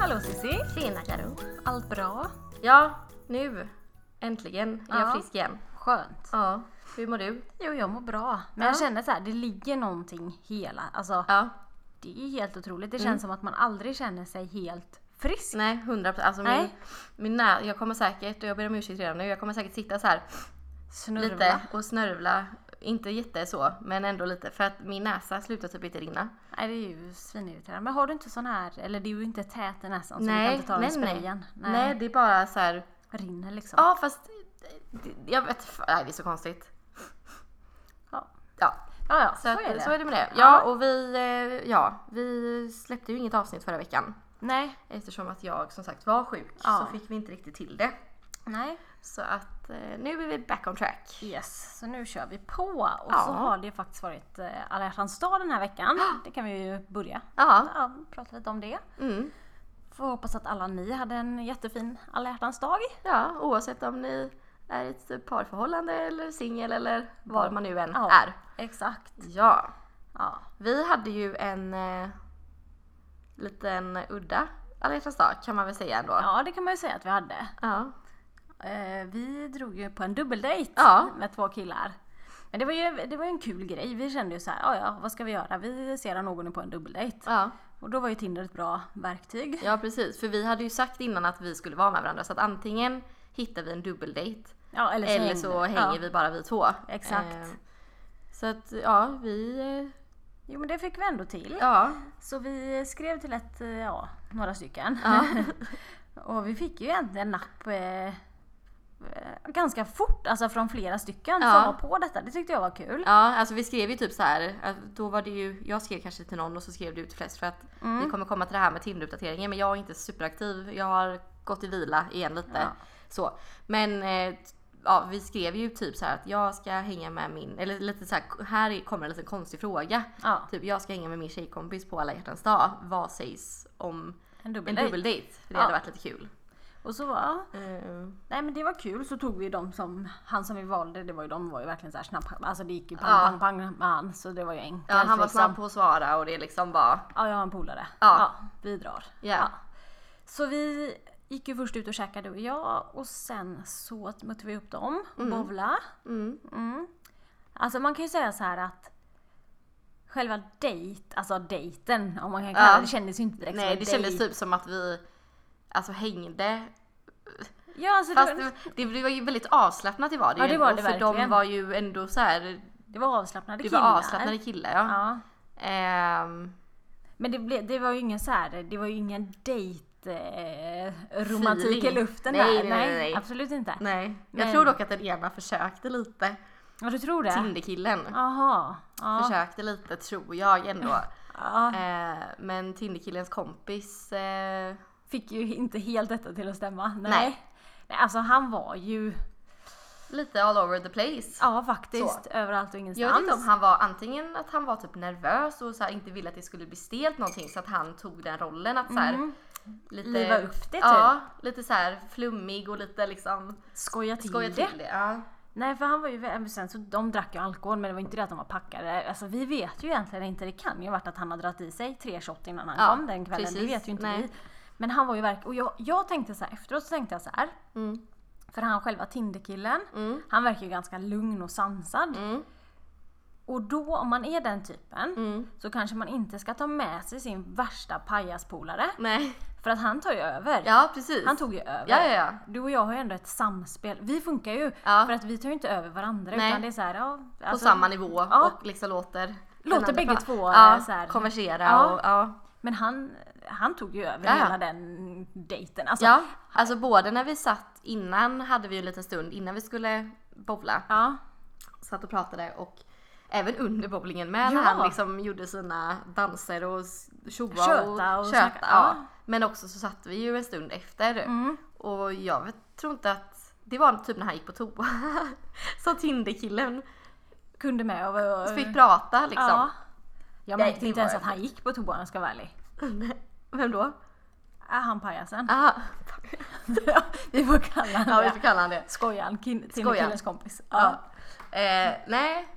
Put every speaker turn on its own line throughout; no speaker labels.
Hallå Cissi!
Tjena Karo. Allt bra?
Ja, nu äntligen är jag
Ja.
frisk igen.
Skönt.
Ja, hur mår du?
Jo, jag mår bra. Men
Ja.
jag känner så här, det ligger någonting hela. Alltså,
Ja,
det är helt otroligt. Det känns
Mm.
som att man aldrig känner sig helt frisk.
nej 100 alltså min,
Nej.
min när, jag kommer säkert, och jag ber om ursäkt redan nu, jag kommer säkert sitta så här
Snurvla.
lite och snörvla. Inte jätte så, men ändå lite för att min näsa slutar typ inte rinna.
Nej, det är ju svinirriterande. Men har du inte sån här, eller det är ju inte tät i näsan så du kan
nej,
inte ta
nej,
den sprayen.
nej. Nej, det är bara så här.
Rinner liksom.
Ja, fast det- jag vet, f- nej det är så konstigt.
Ja.
Ja,
ja, ja,
så,
så,
att,
är det.
så är det med det. Ja,
Ja.
och vi, eh, ja, vi släppte ju inget avsnitt förra veckan.
Nej.
Eftersom att jag som sagt var sjuk
Ja.
så fick vi inte riktigt till det.
Nej.
Så att eh, nu är vi back on track.
Yes, så nu kör vi på. Och
Ja.
så har det faktiskt varit eh, alla hjärtans dag den här veckan. Det kan vi ju börja.
Ja.
Ja, prata lite om det.
Mm.
Får hoppas att alla ni hade en jättefin alla hjärtans dag.
ja, oavsett om ni är i ett parförhållande eller singel eller var man nu än
Ja.
är.
Exakt.
Ja,
Ja.
vi hade ju en eh, liten udda alla hjärtans dag kan man väl säga ändå.
ja, det kan man ju säga att vi hade.
Ja.
Eh, vi drog ju på en dubbeldejt
Ja.
med två killar. Men det var ju det var ju en kul grej. Vi kände ju så här, "Ja, ja, vad ska vi göra? Vi ser någon på en dubbeldejt.
ja.
Och då var ju Tinder ett bra verktyg.
Ja precis, för vi hade ju sagt innan att vi skulle vara med varandra så att antingen hittar vi en dubbeldejt
Ja, eller så,
eller
hängde-
så hänger
ja.
vi bara vi två.
Exakt.
Eh, så att ja, vi... eh,
Jo, men det fick vi ändå till.
Ja,
Så vi skrev till ett, eh, ja, några stycken.
Ja.
och vi fick ju egentligen napp eh, eh, ganska fort, alltså från flera stycken
Ja.
som var på detta. Det tyckte jag var kul.
ja alltså vi skrev ju typ så här. att Då var det ju, jag skrev kanske till någon och så skrev du till flest för att vi kommer komma till det här med Tinder-uppdateringen men jag är inte superaktiv. Jag har gått i vila igen lite.
Ja.
Så. Men eh, ja, vi skrev ju typ så här att jag ska hänga med min, eller lite så här, här kommer en liten konstig fråga.
Ja.
Typ jag ska hänga med min tjejkompis på alla hjärtans dag. Vad sägs om
En
en
dubbeldejt.
dubbeldejt? För det
Ja.
hade varit lite kul.
Och så var,
Eh,
nej men det var kul så tog vi de som, han som vi valde, det var ju de var ju verkligen så här snabbt, alltså det gick ju pang
Ja.
pang pang med han så det var ju enkelt.
Ja, han var
liksom.
snabb på att svara och det liksom bara...
Ja jag har en polare.
Ja.
vi drar.
Ja.
Så vi gick ju först ut och käkade du och jag och sen så mötte vi upp dem och bowla.
Mm.
Mm. Alltså man kan ju säga så här att själva dejt, alltså dejten om man kan kalla
Ja.
det, det kändes ju inte direkt
Nej
som en
det kändes
dejt.
typ som att vi alltså hängde.
Ja alltså
typ- Fast
det, var,
det, det var ju väldigt avslappnat det var det
Ja,
ju
det var det
ändå, För de
verkligen.
var ju ändå så här.
det var avslappnade
Det var
killar.
avslappnade killar ja.
Ja.
Ehm,
Men det, blev, det var ju ingen så här, det var ju ingen dejt eh, romantik i
Feeling.
luften
Nej,
där.
nej, nej, nej.
absolut inte.
nej. Jag
Men-
tror dock att den ena försökte lite.
Ja du tror det?
Tinderkillen.
Jaha. Ja.
Försökte lite tror jag ändå.
ja.
Eh, men Tinderkillens kompis eh,
Fick ju inte helt detta till att stämma. Nej.
Nej.
nej. Alltså han var ju,
lite all over the place.
ja faktiskt, överallt och ingenstans.
Jag vet inte om han var antingen att han var typ nervös och så här, inte ville att det skulle bli stelt någonting så att han tog den rollen att så här,
Mm.
lite,
Liva upp det typ.
Ja, lite så här flummig och lite liksom
Skoja till
skoja
det.
till det. Ja.
Nej för han var ju, vä- men sen så de drack ju alkohol men det var inte det att de var packade. Alltså vi vet ju egentligen inte, det kan ju ha varit att han har dragit i sig tre shot innan han
Ja,
kom den kvällen. Det
precis.
vet ju inte
Nej.
vi. Men han var ju verkligen, och jag, jag tänkte så här efteråt så tänkte jag så här.
Mm.
För han själva Tinderkillen,
Mm.
han verkar ju ganska lugn och sansad.
Mm.
Och då om man är den typen
Mm.
så kanske man inte ska ta med sig sin värsta pajaspolare.
Nej.
För att han tar ju över.
Ja precis.
Han tog ju över.
ja, ja, ja.
Du och jag har ju ändå ett samspel. Vi funkar ju.
Ja.
För att vi tar ju inte över varandra
Nej.
utan det är så här, ja,
På
alltså-
samma nivå
Ja.
och liksom låter
Låter
den andra
bägge
pra-
två,
ja,
eh, så här-
konversera
Ja.
och ja.
Men han, han tog ju över
Ja, ja.
hela den dejten. Alltså,
Ja, alltså både när vi satt innan hade vi ju en liten stund innan vi skulle bowla.
ja.
Satt och pratade och även under bowlingen med när
Ja.
han liksom gjorde sina danser och s- tjoa
Tjöta och
tjöta.
snacka,
ja.
ja.
Men också så satt vi ju en stund efter
Mm.
och jag vet- tror inte att det var typ när han gick på toa som Tinderkillen
Kunde med och... och
fick prata liksom.
Ja. Jag
Nej,
märkte
det
inte ens
var-
att han gick på toan om jag ska vara ärlig.
Vem då?
Är han pajasen?
Aha.
vi får kalla
Ja
honom
vi
det.
får kalla han det.
Skojan, kin-
Skojan.
Tinderkillens kompis.
Ja. Eh, nej.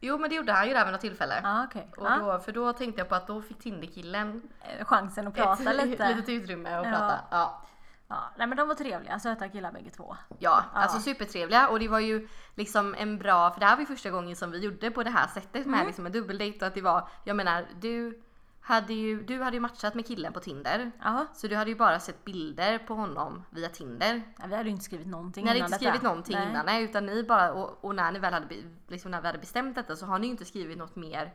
Jo men det gjorde han ju där vid något tillfälle.
Ja, okej.
Och
Ja,
då, för då tänkte jag på att då fick Tinderkillen
eh, Chansen att prata
ett
lite.
litet utrymme att
Ja.
prata. Ja.
Ja, nej men de var trevliga, söta killar bägge två.
Ja, alltså supertrevliga och det var ju liksom en bra, för det här var ju första gången som vi gjorde på det här sättet
Mm.
med liksom en dubbeldejt och att det var, jag menar du hade ju, du hade ju matchat med killen på Tinder.
Ja.
Så du hade ju bara sett bilder på honom via Tinder.
Ja, vi hade ju inte skrivit någonting
Ni hade
innan
inte
detta.
skrivit någonting
Nej.
innan nej, utan ni bara, och, och när ni väl hade, be- liksom när vi hade bestämt detta så har ni ju inte skrivit något mer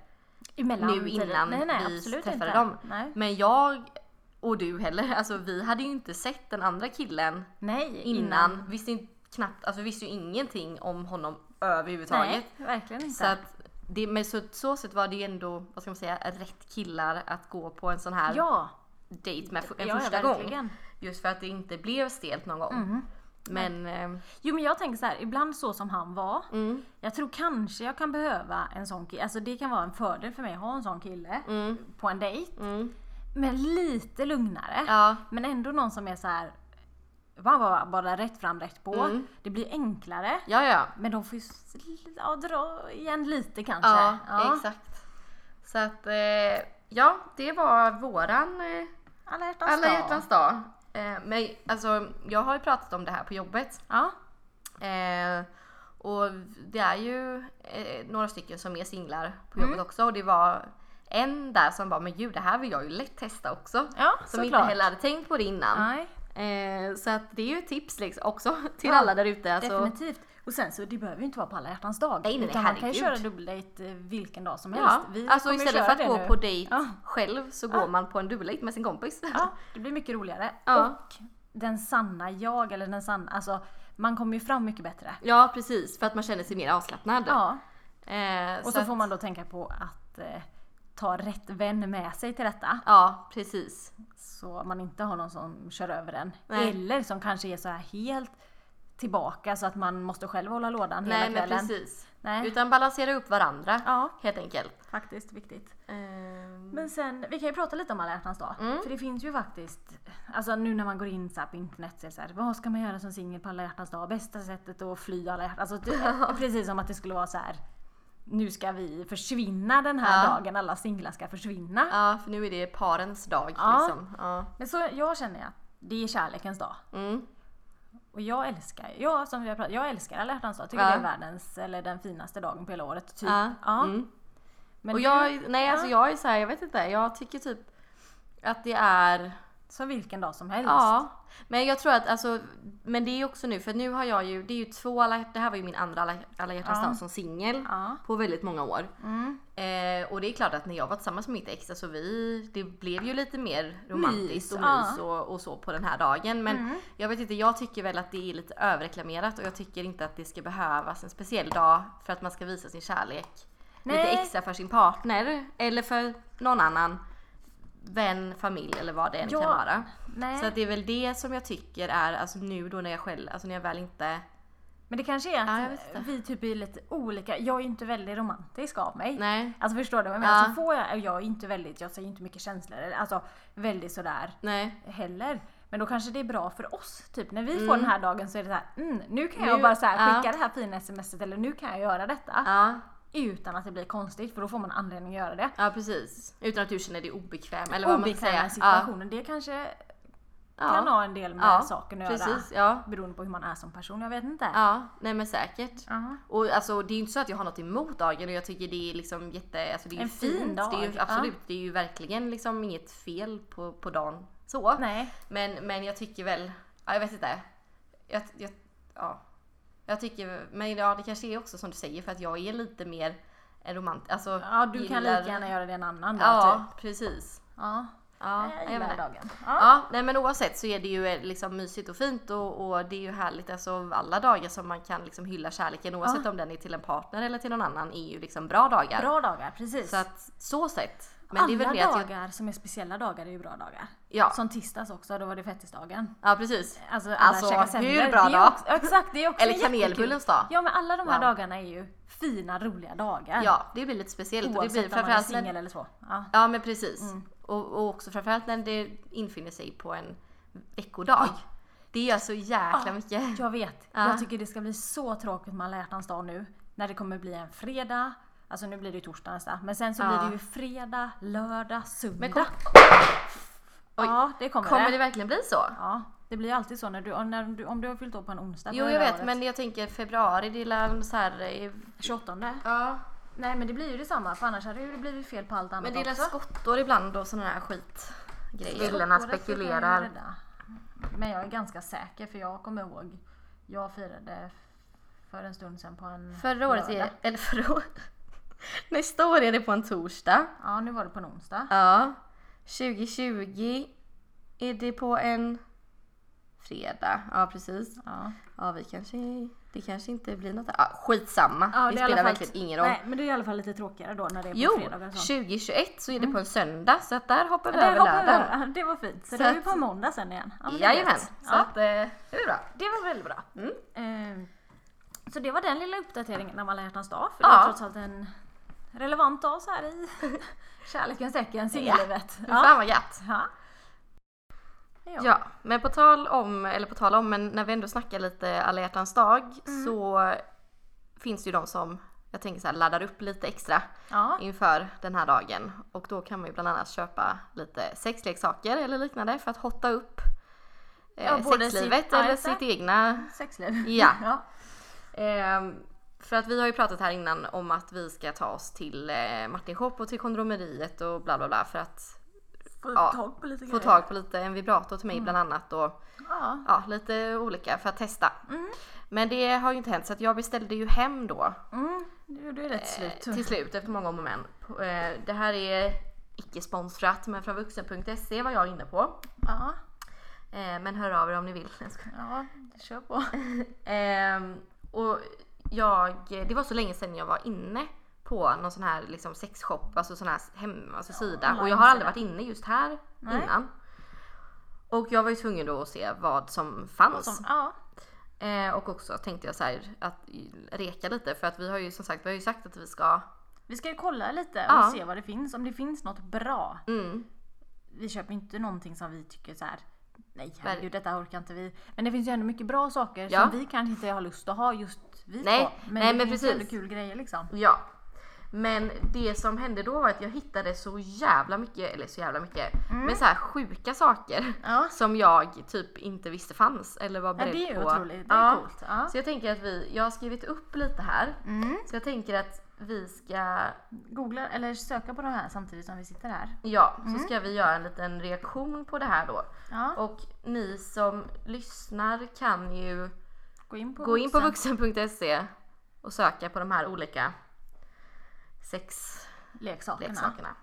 Emellan
nu
tiden.
innan
nej, nej,
vi
absolut
träffade
inte.
dem.
Nej.
Men jag och du heller, alltså vi hade ju inte sett den andra killen
nej,
innan.
Mm.
Visste inte, knappt, alltså visste ju ingenting om honom överhuvudtaget.
Nej, verkligen inte.
Så att det, men så, så sätt var det ju ändå, vad ska man säga, rätt killar att gå på en sån här
ja,
dejt med f- en
ja, ja,
första
verkligen. Mm.
gång. Just för att det inte blev stelt någon gång. Men eh,
Jo men jag tänker så här, ibland så som han var.
Mm.
Jag tror kanske jag kan behöva en sån kille. Alltså det kan vara en fördel för mig att ha en sån kille på en dejt.
mm,
Men lite lugnare.
ja.
Men ändå någon som är så här bara, bara, bara rätt fram, rätt på.
Mm.
Det blir enklare.
Ja, ja.
Men de får ju s- ja, dra igen lite kanske.
Ja, exakt. Så att eh, ja, det var våran eh,
Alla hjärtans
alla
dag.
hjärtans dag. Eh, men alltså, jag har ju pratat om det här på jobbet.
Ja.
Eh, och det är ju eh, några stycken som är singlar på
Mm.
jobbet också och det var en där som bara, men gud det här vill jag ju lätt testa också.
Ja,
som inte
såklart.
heller hade tänkt på det innan.
Nej,
Eh, så att det är ju ett tips liksom, också till
Ja,
alla där ute. Alltså,
definitivt. Och sen så det behöver ju inte vara på alla hjärtans dag.
Nej, nej,
utan man kan ju
herregud.
köra dubbeldejt eh, vilken dag som helst.
ja, alltså
kommer ju
istället
köra
för att
det
gå
nu.
på dejt
Ja.
själv så går man på en dubbeldejt med sin kompis.
Ja, det blir mycket roligare.
Ja.
Och den sanna jag, eller den sanna, alltså man kommer ju fram mycket bättre.
Ja precis, för att man känner sig mer avslappnad.
Ja,
Eh,
och så,
att-
får man då tänka på att eh, ta rätt vän med sig till detta.
Ja precis.
Så man inte har någon som kör över en.
Nej.
Eller som kanske är så här helt tillbaka så att man måste själv hålla lådan
Nej
hela
men
kvällen.
precis.
Nej,
Utan balansera upp varandra
Ja,
helt enkelt.
faktiskt viktigt.
Ehm,
Men sen, vi kan ju prata lite om alla hjärtans dag.
Mm.
För det finns ju faktiskt, alltså nu när man går in så här på internet så är det så här, vad ska man göra som singel på alla hjärtans dag? Bästa sättet att fly alla hjärtans alltså, det, Precis som att det skulle vara så här, nu ska vi försvinna den här
Ja.
dagen, alla singlar ska försvinna.
Ja, för nu är det parens dag
Ja.
liksom. Ja.
Men så jag känner att det är kärlekens dag.
Mm.
Och jag älskar, jag, som vi har pratat, jag älskar alla hjärtans dag. Tycker
Ja.
det är världens, eller den finaste dagen på hela året. Typ.
Ja.
Ja.
Mm.
Men
Och
du,
jag, nej alltså jag är så här, jag vet inte, jag tycker typ att det är
som vilken dag som helst.
Ja, men jag tror att alltså, men det är ju också nu för nu har jag ju, det är ju två alla, det här var ju min andra alla, alla hjärtans
Ja.
dag som singel
Ja. Mm.
på väldigt många år. Eh, och det är klart att när jag var tillsammans med mitt ex, så vi, det blev ju lite mer romantiskt och
ja. Mm.
mys och, och så på den här dagen. Men jag vet inte, jag tycker väl att det är lite överreklamerat och jag tycker inte att det ska behövas en speciell dag för att man ska visa sin kärlek
Nej.
lite extra för sin partner eller för någon annan vän, familj eller vad det än
Ja.
kan vara.
Nej.
Så att det är väl det som jag tycker är, alltså nu då när jag själv, alltså när jag väl inte...
Men det kanske är
Ja, jag
att
vet inte.
vi typ är lite olika. Jag är ju inte väldigt romantisk av mig.
Nej,
Alltså förstår du vad jag menar?
Ja.
Så får jag, jag är inte väldigt, jag säger inte mycket känslor. eller- Alltså väldigt sådär
nej.
heller. Men då kanske det är bra för oss. Typ när vi får den här dagen så är det så här, mm, nu kan jag
Nu-
bara så här
ja.
skicka det här fina smset eller nu kan jag göra detta.
Ja,
Utan att det blir konstigt för då får man anledning att göra det.
ja precis. Utan att du känner dig obekväm eller vad man ska säga.
Obekväma situationer, det kanske
Ja,
kan ha en del med
ja,
saken att göra.
Precis, ja.
Beroende på hur man är som person, jag vet inte.
Ja, nej men säkert.
Ja.
Och alltså det är ju inte så att jag har något emot dagen och jag tycker det är liksom jätte, alltså det är ju
En fin
fint.
dag,
Det är ju,
ja.
absolut, det är ju verkligen liksom inget fel på, på dagen så.
Nej.
Men, men jag tycker väl, ja, jag vet inte. Jag, jag, ja. jag tycker, men ja, det kanske är också som du säger för att jag är lite mer en romant. Alltså,
Ja, du kan
gillar-
lika gärna göra det en annan dag
Ja,
typ.
precis.
Ja.
Ja,
jag
jag
gillar
vet inte.
dagen. Ja.
Ja, nej men oavsett så är det ju eh, liksom mysigt och fint och, och det är ju härligt alltså alla dagar som man kan liksom hylla kärleken oavsett om den är till en partner eller till någon annan är ju liksom bra dagar.
Bra dagar, precis.
Så att så sett. Men
Alla
det är väl mer att jag,
dagar som är speciella dagar är ju bra dagar.
Ja.
Som tisdags också, då var det fettisdagen.
Ja precis.
Alltså, alla
Alltså,
käkar
hur
semlor.
bra
Det är ju
dag?
Också, exakt, det är också
Eller
jättekul.
kanelbullens dag.
Ja men alla de här
Wow.
dagarna är ju fina, roliga dagar.
Ja, det blir lite speciellt och det
Oavsett
blir
om man är
framförallt när
singel eller så. Ja.
Ja men precis.
Mm.
Och, och också framförallt när det infinner sig på en veckodag. Det gör så jäkla
Ah. Ja.
mycket.
Jag vet.
Ja.
Jag tycker det ska bli så tråkigt med alla hjärtans dag nu. När det kommer bli en fredag Alltså nu blir det ju torsdag nästa. Men sen så
Ja.
blir det ju fredag, lördag, söndag.
Men kom, Oj.
Ja, det kommer,
kommer
det.
det verkligen bli så?
Ja, det blir ju alltid så när du, om- när du, om du har fyllt år på en onsdag.
Jo
förra
jag vet
året.
men jag tänker februari det är väl så här... eh,
28.
Ja.
Nej men det blir ju detsamma för annars hade det ju blivit fel på allt annat
Men det är väl
också.
skottår ibland och sådana här skitgrejer.
Skottåret firar jag ju redan. Men jag är ganska säker för jag kommer ihåg. Jag firade för en stund sedan på en
Förra året, är,
lördag.
eller förra året. Nästa år är det på en torsdag.
Ja nu var det på en onsdag.
Ja. 2020 är det på en fredag. Ja precis.
Ja,
Ja vi kanske, det kanske inte blir något. Ja, skitsamma.
ja
det
är i alla
spelar
fall- typ
verkligen ingen roll.
Nej men det är i alla fall lite tråkigare då när det är på
Jo,
fredagar och sånt.
2021 så är det på en söndag så att där hoppar vi
Där
över
hoppar vi
lördagen.
över. Det var fint. Så,
Så
det är vi
att-
på en måndag sen igen. Ja, men det är
Jajamän,
gött.
så
Ja.
att, eh, det är bra.
Det var väldigt bra.
Mm.
Ehm, Så det var den lilla uppdateringen av alla hjärtans dag. För det
Ja.
var trots allt en relevant dag så här i kärlekens tecken, singellivet.
Ja. Fan vad gött.
Ja.
Ja.
Ja.
men på tal om, eller på tal om, men när vi ändå snackar lite alla hjärtans dag
Mm.
så finns det ju de som, jag tänker så här, laddar upp lite extra
Ja.
inför den här dagen. Och då kan man ju bland annat köpa lite sexleksaker eller liknande för att hotta upp eh,
Ja, både sitt-
sexlivet
ja,
eller
just det.
sitt egna
Sexliv.
Ja.
ja.
Ehm, för att vi har ju pratat här innan om att vi ska ta oss till eh, Martin Shop och till kondomeriet och bla bla bla för att
Få
Ja. Mm.
tag på lite
få tag på lite en vibrator till mig bland annat och
Ja.
ja, lite olika för att testa.
Mm.
Men det har ju inte hänt så att jag beställde ju hem då
Mm. Du, du är rätt slut.
Eh, till slut efter många om och men. På- eh, Det här är icke sponsrat men från vuxen.se var jag inne på.
Ja.
Eh, Men hör av er om ni vill. Jag skojar.
ja, kör på.
Ehm, och jag, det var så länge sedan jag var inne på någon sån här liksom sexshop, alltså sån här hem, alltså sida. Och jag har aldrig varit inne just här
Nej.
innan. Och jag var ju tvungen då att se vad som fanns.
Som, ja.
Eh, och också tänkte jag så här att reka lite för att vi har ju som sagt, vi har ju sagt att vi ska
Vi ska ju kolla lite och
Ja.
se vad det finns. Om det finns något bra.
mm,
vi köper inte någonting som vi tycker så här. Nej herregud detta orkar inte vi. Men det finns ju ändå mycket bra saker
Ja.
som vi kanske inte har lust att ha just vi
Nej,
två. Men
nej,
det
men
finns
precis.
ändå kul grejer liksom.
Ja. Men det som hände då var att jag hittade så jävla mycket, eller så jävla mycket, men så här sjuka saker
Mm. Ja.
som jag typ inte visste fanns eller var
Ja,
beredd
det är ju
på.
otroligt, det är
Ja.
coolt. Ja.
Så jag tänker att vi, jag har skrivit upp lite här,
Mm.
så jag tänker att vi ska,
Googla eller söka på de här samtidigt som vi sitter här.
ja, så ska vi göra en liten reaktion på det här då.
Mm. Ja.
Och ni som lyssnar kan ju
Gå in på
gå in på
vuxen.
vuxen.se E och söka på de här olika sex
leksakerna.
leksakerna.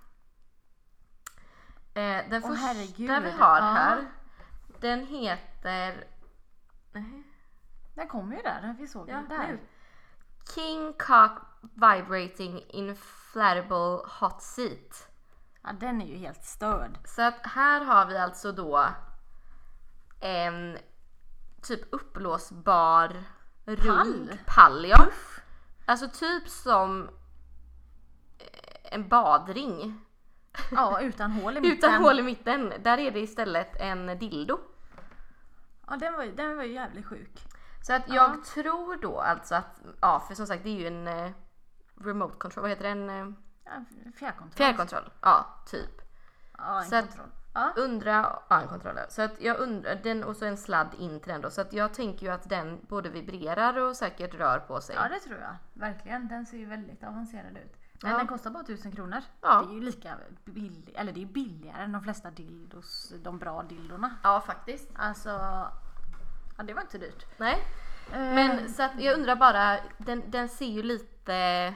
Eh, den
Åh,
första
herregud.
vi har
Ja.
här, den heter nej,
Den kom ju där, vi såg
ja,
den där.
nu. King Cock Vibrating Inflatable Hot Seat.
Ja, den är ju helt störd.
Så att här har vi alltså då en typ uppblåsbar
Pall?
rund pall. Ja. Alltså typ som eh, en badring
Ja, utan hål i mitten.
Utan hål i mitten, där är det istället en dildo.
Ja, den var, ju- den var ju jävligt sjuk.
Så att jag tror då alltså att, ja för som sagt det är ju en eh, remote control, vad heter det? En eh,
Ja, fjärrkontroll.
fjärrkontroll? Ja, typ.
Ja, en
Så att-
kontroll. Ja.
Undra, ja en kontroll ja. Så att jag undrar, den och så en sladd in till den då. Så att jag tänker ju att den både vibrerar och säkert rör på sig.
Ja det tror jag, verkligen. Den ser ju väldigt avancerad ut. Men
Ja.
den kostar bara 1000 kronor.
Ja.
Det är ju lika billig, eller det är billigare än de flesta dildos, de bra dildorna.
Ja faktiskt.
Alltså, ja det var inte dyrt.
Nej.
Eh,
Men så att jag undrar bara, den, den ser ju lite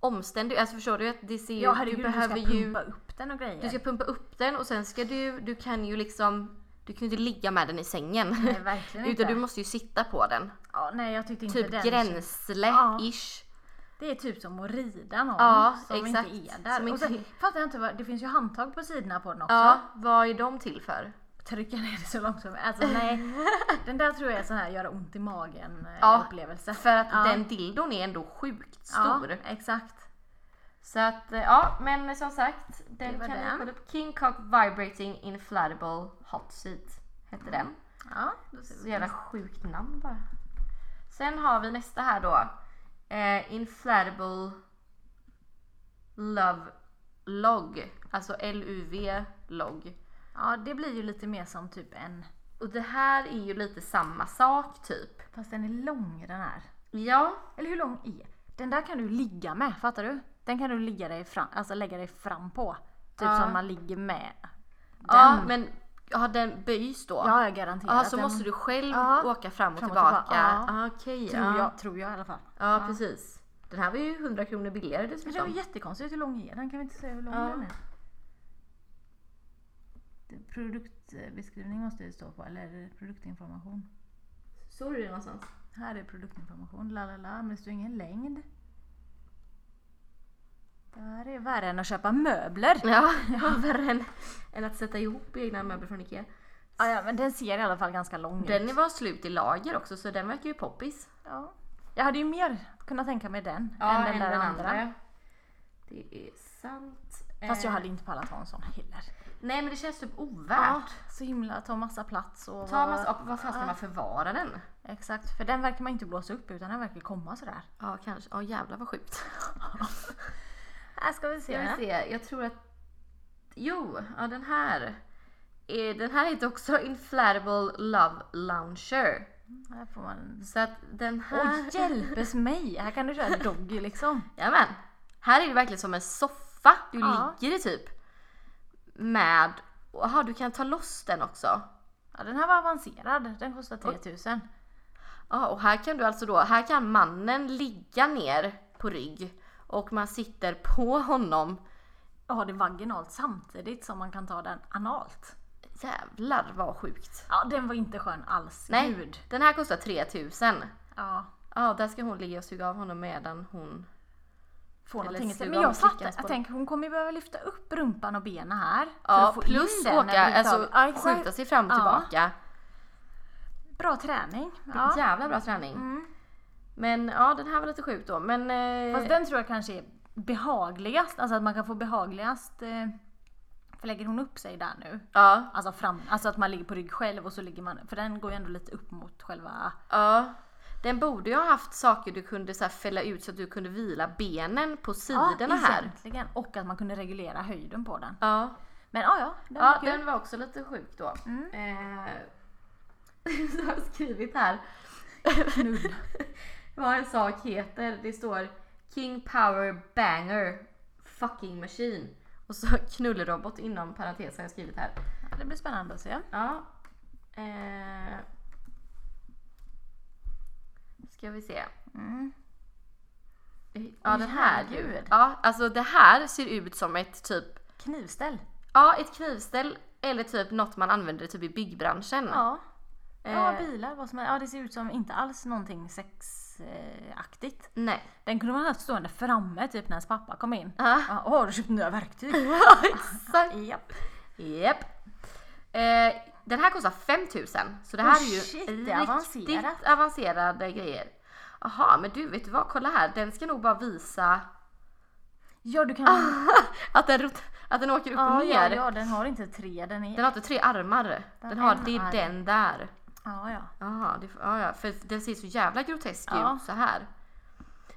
omständig ut. Alltså förstår du? att Det ser ju,
ja herregud
du
du,
behöver
ska
ju
pumpa upp den och grejer.
Du ska pumpa upp den och sen ska du, du kan ju liksom, du kan ju inte ligga med den i sängen.
Nej, verkligen inte.
Utan du måste ju sitta på den.
Ja, nej jag tyckte inte
Typ
den. Ja.
gränsle-ish.
Det är typ som att rida någon
Ja,
som
exakt.
inte är där.
Som
Och sen
inte-
fattar jag inte vad, det finns ju handtag på sidorna på den också.
Ja, vad är de till för?
Trycka ner det så långt som Alltså nej. den där tror jag är sån här göra ont i magen eh,
Ja,
upplevelse.
För att
Ja.
den dildon är ändå sjukt stor.
Ja, exakt.
Så att eh, ja, men som sagt,
Det
den
var
kan ni
den.
kolla upp. King Cock Vibrating Inflatable Hot Seat hette den.
Ja, då ser vi.
Så jävla sjukt namn bara. Sen har vi nästa här då. Eh, inflatable Love log. Alltså L-U-V log.
Ja, det blir ju lite mer som typ en...
Och det här är ju lite samma sak typ.
Fast den är lång den här.
Ja,
Eller hur lång är den? där kan du ligga med, fattar du? Den kan du ligga dig fram, alltså lägga dig fram på. Typ
Ja.
som man ligger med.
ja men ja, den böjs då.
Ja, jag garanterar.
Ja,
att
så
den-
måste du själv
Ja.
åka fram och
Fram och
tillbaka.
tillbaka, ja.
Ah, Okej,
Tror
ja.
jag, tror jag i alla fall.
ja precis. Den här var ju 100 kronor billigare
Men det var
dessutom.
jättekonstigt. Hur lång är den? Kan vi inte säga hur lång
Ja.
den är? Det- Produktbeskrivning måste det stå på, eller produktinformation.
Såg du det någonstans?
Här är produktinformation, la la la, men det står ingen längd. Det här är värre än att köpa möbler.
Ja, ja värre än, än att sätta ihop egna möbler från Ikea.
Ja, ja, men den ser i alla fall ganska lång ut.
Den var slut i lager också så den verkar ju poppis.
Ja. Jag hade ju mer kunnat tänka mig den än
Ja,
den
än
där
den
andra.
andra. Det är sant.
Fast jag
Eh,
hade inte pallat ha en sån heller.
Nej men det känns typ
Ja,
ovärt.
så himla, ta massa plats och...
Ta massa, och vad fan ska man förvara den?
Exakt, för den verkar man inte blåsa upp utan den verkar komma sådär.
Ja kanske, ja jävlar vad sjukt.
Här ska vi se.
Ska vi se, jag tror att... Jo, ja den här. Eh, Den här heter också Inflatable Love Launcher.
Här får man...
Så att den här...
Oj, hjälpes mig! Här kan du köra doggy liksom.
Jajamän. Här är det verkligen som en soffa du
Ja.
ligger i typ. Med... Jaha, du kan ta loss den också.
Ja, den här var avancerad. Den kostar 3000.
Ja, och här kan du alltså då, här kan mannen ligga ner på rygg och man sitter på honom.
Ja, det är vaginalt samtidigt som man kan ta den analt.
Jävlar vad sjukt.
Ja, den var inte skön alls.
Nej,
Gud.
den här kostar 3000.
Ja.
Ja, där ska hon ligga och suga av honom medan hon...
Får
Eller
någonting i sig.
suga
Men
om
jag fattar.
slickas på
Jag
den.
tänker hon kommer ju behöva lyfta upp rumpan och benen här.
Ja,
få in
plus
den när
åka,
du tar-
alltså
ja, exakt.
skjuta sig fram och
Ja.
tillbaka.
Bra träning.
Det är
Ja. Mm.
en Jävla bra träning. Men ja, den här var lite sjuk då. Men eh,
Fast den tror jag kanske är behagligast. Alltså att man kan få behagligast... eh, För lägger hon upp sig där nu?
ja,
Alltså, fram, alltså att man ligger på rygg själv och så ligger man... För den går ju ändå lite upp mot själva...
ja. Den borde ju ha haft saker du kunde så här fälla ut så att du kunde vila benen på sidorna här.
egentligen. Och att man kunde regulera höjden på den.
Ja.
Men ja, ja. Den
Ja,
var kul. Mm.
den var också lite sjuk då. Eh, så har jag skrivit här.
Knull.
Vad en sak heter. Det står King Power Banger Fucking Machine. Och så knullrobot inom parentes har jag skrivit här.
Ja, Det blir spännande att se.
Ja. Eh, ska vi se.
Mm.
Ja,
Åh,
den här.
herregud.
Ja, alltså det här ser ut som ett typ,
Knivställ.
ja ett knivställ eller typ något man använder typ i byggbranschen.
Ja. Ja,
Eh,
bilar, vad som helst. Ja, det ser ut som inte alls någonting sexaktigt.
Nej.
Den kunde man haft stående framme typ när ens pappa kom in.
Ja.
Ja, Åh, har du köpt nya verktyg?
Exakt.
Japp.
Japp. Eh, den här kostar 5000 så det här
Oh,
är ju
shit, det är
riktigt
avancerat.
avancerade grejer. Jaha, men du vet du vad? Kolla här, den ska nog bara visa
Ja, du kan...
att den, rot- att den åker upp
Ah, Ja,
och ner.
ja, ja, den har inte tre, den är...
Den har inte tre armar. Den,
Den
har,
en
det är
arm.
den där.
Ja, ja.
Jaha, det, ja, ja, för den ser så jävla grotesk
Ja.
ut så här.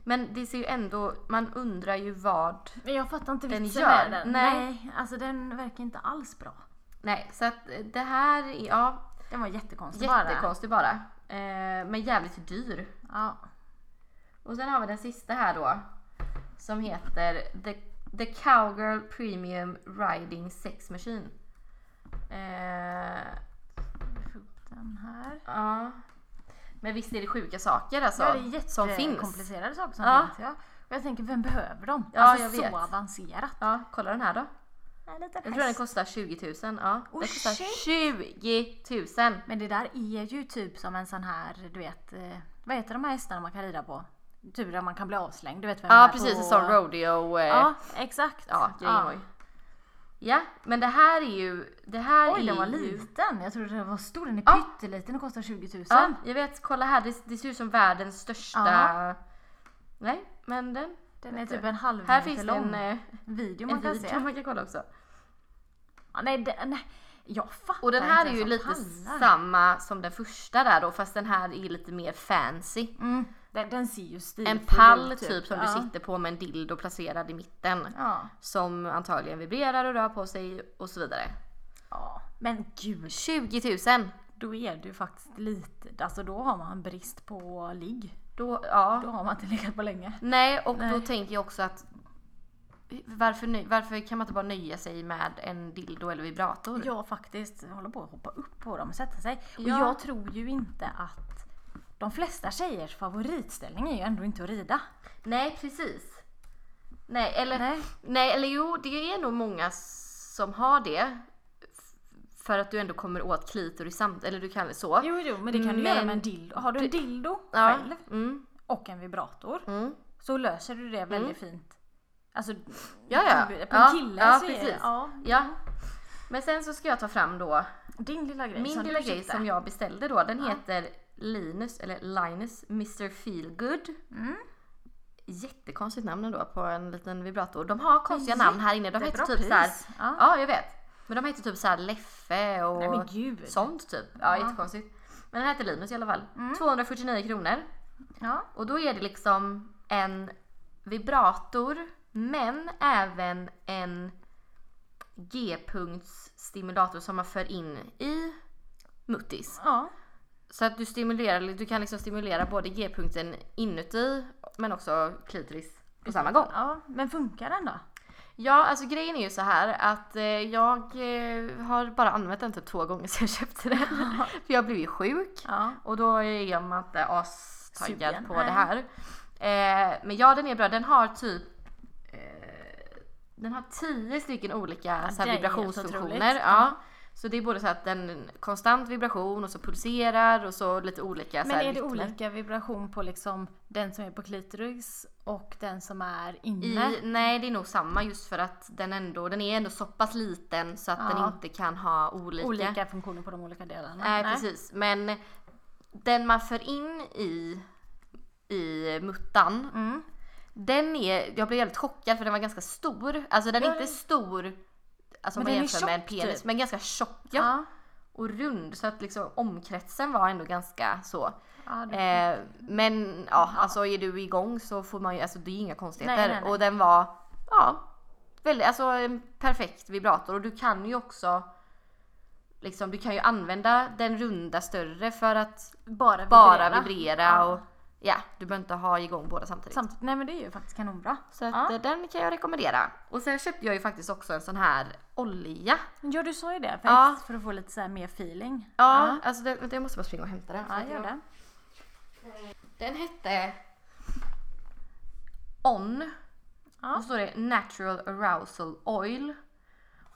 Men det ser ju ändå, man undrar ju vad.
Men jag fattar inte
Den
vitsen
gör-
med den.
nej.
alltså den verkar inte alls bra.
Nej, så att eh, det här är, ja,
Den var jättekonstig bara.
jättekonstig bara. Eh, men jävligt dyr.
Ja.
Och sen har vi den sista här då. Som heter The, The Cowgirl Premium Riding Sex Machine. Eh,
Få upp Den här.
ja. Men visst är det sjuka saker alltså.
Ja, det är
som finns.
jättekomplicerade saker som
Ja.
finns. Ja. Och jag tänker, vem behöver dem?
Ja,
alltså
jag
så
vet.
avancerat.
Ja, kolla den här då.
En liten
Jag tror den
häst.
kostar 20 000. Ja.
Oh,
den kostar
shit.
20 000.
Men det där är ju typ som en sån här, du vet, eh, vad heter de här hästarna man kan rida på? Typ där man kan bli avslängd. Du vet vem
Ja
är
precis,
på...
en sån rodeo. eh,
Ja, exakt.
ja Gameboy. Ja, men det här är ju... Det här
Oj,
är
den var
ju...
liten. Jag trodde den var stor. Den är
Ja.
pytteliten och kostar 20 000.
Ja, jag vet, kolla här. Det, det ser ut som världens största...
Ja.
Nej, men den...
Den är typ en halv
Här
meter
finns det
lång.
en, eh,
video man
en
kan
video
se.
man kan kolla också.
Ja, nej, den, nej, jag fattar
Och den här
inte
är
ens
ju
vad
lite
pallar.
samma som den första där då fast den här är lite mer fancy.
Mm. Den, den ser ju stilfull
En
ut,
pall typ som
ja.
du sitter på med en dildo placerad i mitten.
Ja.
Som antagligen vibrerar och rör på sig och så vidare.
ja. Men gud,
20 000!
då är det ju faktiskt lite... Alltså då har man brist på ligg.
Då, ja.
Då har man inte legat på länge.
Nej och då
Nej.
tänker jag också att varför, nö- varför kan man inte bara nöja sig med en dildo eller vibrator?
Jag faktiskt håller på att hoppa upp på dem och sätta sig. Och
Ja.
jag tror ju inte att de flesta tjejers favoritställning är ju ändå inte att rida.
Nej precis. Nej eller, nej.
Nej.
eller jo det är nog många s- som har det. F- För att du ändå kommer åt klitoris samt, eller du kan det så.
Jo, jo, men det kan du göra
Men-
med en dildo. Har du en dildo
ja.
själv
Mm,
och en vibrator
mm.
så löser du det väldigt fint. Alltså,
Ja, ja.
på en
Ja,
kille
ja,
så är det...
precis.
Ja,
Ja. Men sen så ska jag ta fram då
Din lilla grej
min
som
lilla
du
grej
köpte.
som jag beställde då. Den heter Linus, eller Linus Mr Feelgood.
Mm.
Jättekonstigt namn ändå på en liten vibrator. De har konstiga
Men
namn här inne. De heter
jättebra
typ
pris.
såhär,
Ja.
ja jag vet. Men de heter typ såhär Leffe och
Nej men gud.
sånt typ. Ja, Mm. jättekonstigt. Men den heter Linus i alla fall. 249 kronor.
Ja.
Och då är det liksom en vibrator men även en G-punktsstimulator som man för in i muttis.
ja.
Så att du stimulerar, du kan liksom stimulera både G-punkten inuti men också klitoris på samma gång.
Ja, men funkar den då?
Ja, alltså grejen är ju så här att eh, jag eh, har bara använt den typ två gånger sedan jag köpte den. För jag blev ju sjuk.
Ja.
Och då är man inte astaggad
Sugen,
på
nej.
det här. Eh, men ja, den är bra. Den har typ eh, den har tio stycken olika så
det är
här,
helt
vibrationsfunktioner.
otroligt.
Ja. Så det är både så att den konstant vibration och så pulserar och så lite olika så
Men
Alltså här,
är det
rytmer.
olika vibration på liksom den som är på klitoris och den som är
I,
inne?
nej. det är nog samma just för att den ändå, den är ändå så pass liten så att den
Ja.
inte kan ha olika.
Olika funktioner på de olika delarna?
Nej, precis. Men den man för in i, i muttan,
Mm.
den är, jag blev väldigt chockad för den var ganska stor. Alltså den är
Ja,
inte
den-
stor alltså om
Men
man
den är
jämför med en
tjock,
penis,
typ.
men ganska tjock ja.
Ja.
och rund så att liksom omkretsen var ändå ganska så.
Ja, det-
Eh, men ja, alltså är du igång så får man ju, alltså det är ju inga konstigheter.
Nej, nej, nej.
Och den var, ja, väldigt, alltså en perfekt vibrator. Och du kan ju också, liksom du kan ju använda den runda större för att
bara vibrera.
bara vibrera
Ja.
och ja, du behöver inte ha igång båda samtidigt.
Samt, nej men det är ju faktiskt kanonbra.
så att,
Ja.
eh, den kan jag rekommendera. Och sen köpte jag ju faktiskt också en sån här olja.
Ja du sa ju det för,
Ja.
för att få lite så här mer feeling.
Ja, alltså den, vänta, jag måste bara springa och hämta den.
Ja, gör det.
Den hette On.
Ja.
Och så står det Natural Arousal Oil.